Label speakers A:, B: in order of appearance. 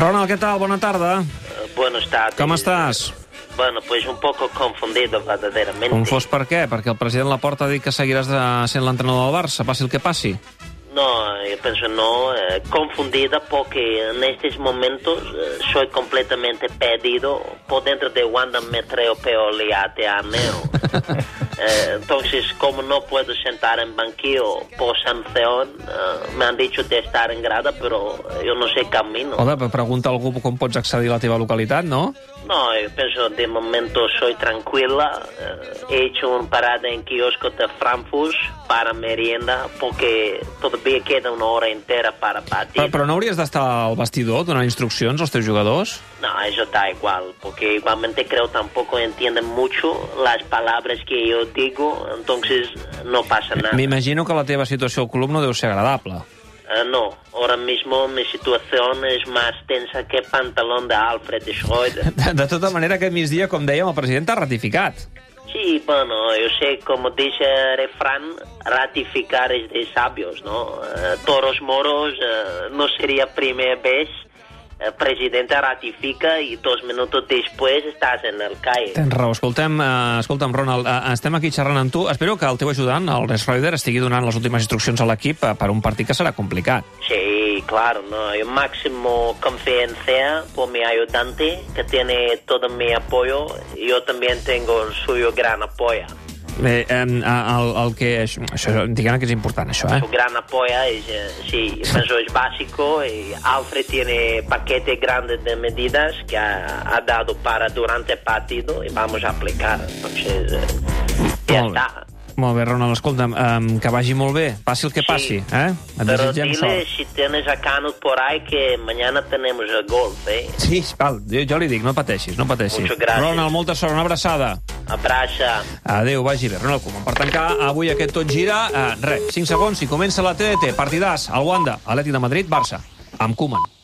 A: Ronald, què tal? Bona tarda.
B: Buenas tardes.
A: Com estàs?
B: Bueno, pues un poco confundido verdaderamente.
A: Confós per què? Perquè el president Laporta ha dit que seguiràs de, sent l'entrenador del Barça, passi el que passi.
B: No, yo pienso no, eh, confundida porque en estos momentos eh, soy completamente perdido por dentro de Wanda Metreo Peoliate a Neo. Eh, entonces, como no puedo sentar en banquillo por sanción, eh, me han dicho de estar en grada, pero yo no sé camino.
A: Hola, però pregunta a algú com pots accedir a la teva localitat, no?
B: No, yo pienso de momento soy tranquila. eh, He hecho una parada en kiosco de Frankfurt para merienda porque todavía queda una hora entera para partir.
A: Però, però no hauries d'estar al vestidor donant instruccions als teus jugadors?
B: No, eso da igual, porque igualmente creo tampoco entienden mucho las palabras que yo digo, entonces no pasa nada.
A: M'imagino que la teva situació al club no deu ser agradable.
B: Eh, no, ahora mismo mi situación es más tensa que pantalón de Alfred Schroeder.
A: De, de tota manera, aquest migdia, com dèiem, el president t'ha ratificat.
B: Sí, bueno, yo sé, como dice el refrán, ratificar es de sabios, ¿no? Eh, toros moros eh, no sería primera vez. El presidente ratifica y dos minutos después estás en el calle.
A: Tens raó. Escoltem, eh, escolta'm, Ronald, eh, estem aquí xerrant amb tu. Espero que el teu ajudant, el Resroider, estigui donant les últimes instruccions a l'equip eh, per un partit que serà complicat.
B: Sí, claro, no, yo máximo confianza por mi ayudante que tiene todo mi apoyo y yo también tengo el suyo gran apoyo.
A: Bé, eh, el, el que... Això, això, diguem que és important, això, eh?
B: Su gran apoyo es, eh, sí, eso es básico y Alfred tiene paquete grande de medidas que ha, ha dado para durante el partido y vamos a aplicar. Entonces, eh, ya
A: Molt bé.
B: está.
A: Molt bé, Ronald, escolta'm, eh, que vagi molt bé, passi el que
B: Sí.
A: passi, eh? Et
B: Pero
A: desitgem
B: dile
A: sort.
B: si tienes a Canut por ahí que mañana tenemos el golf, ¿eh?
A: Sí, val, jo, jo li dic, no pateixis, no pateixis.
B: Muchas gracias.
A: Ronald, molta sort, una abraçada.
B: Abraça.
A: Adéu, vagi bé. Ronald Koeman, per tancar avui aquest tot gira, eh, res, 5 segons i comença la TDT. Partidàs, al Wanda, Atleti de Madrid, Barça, amb Koeman.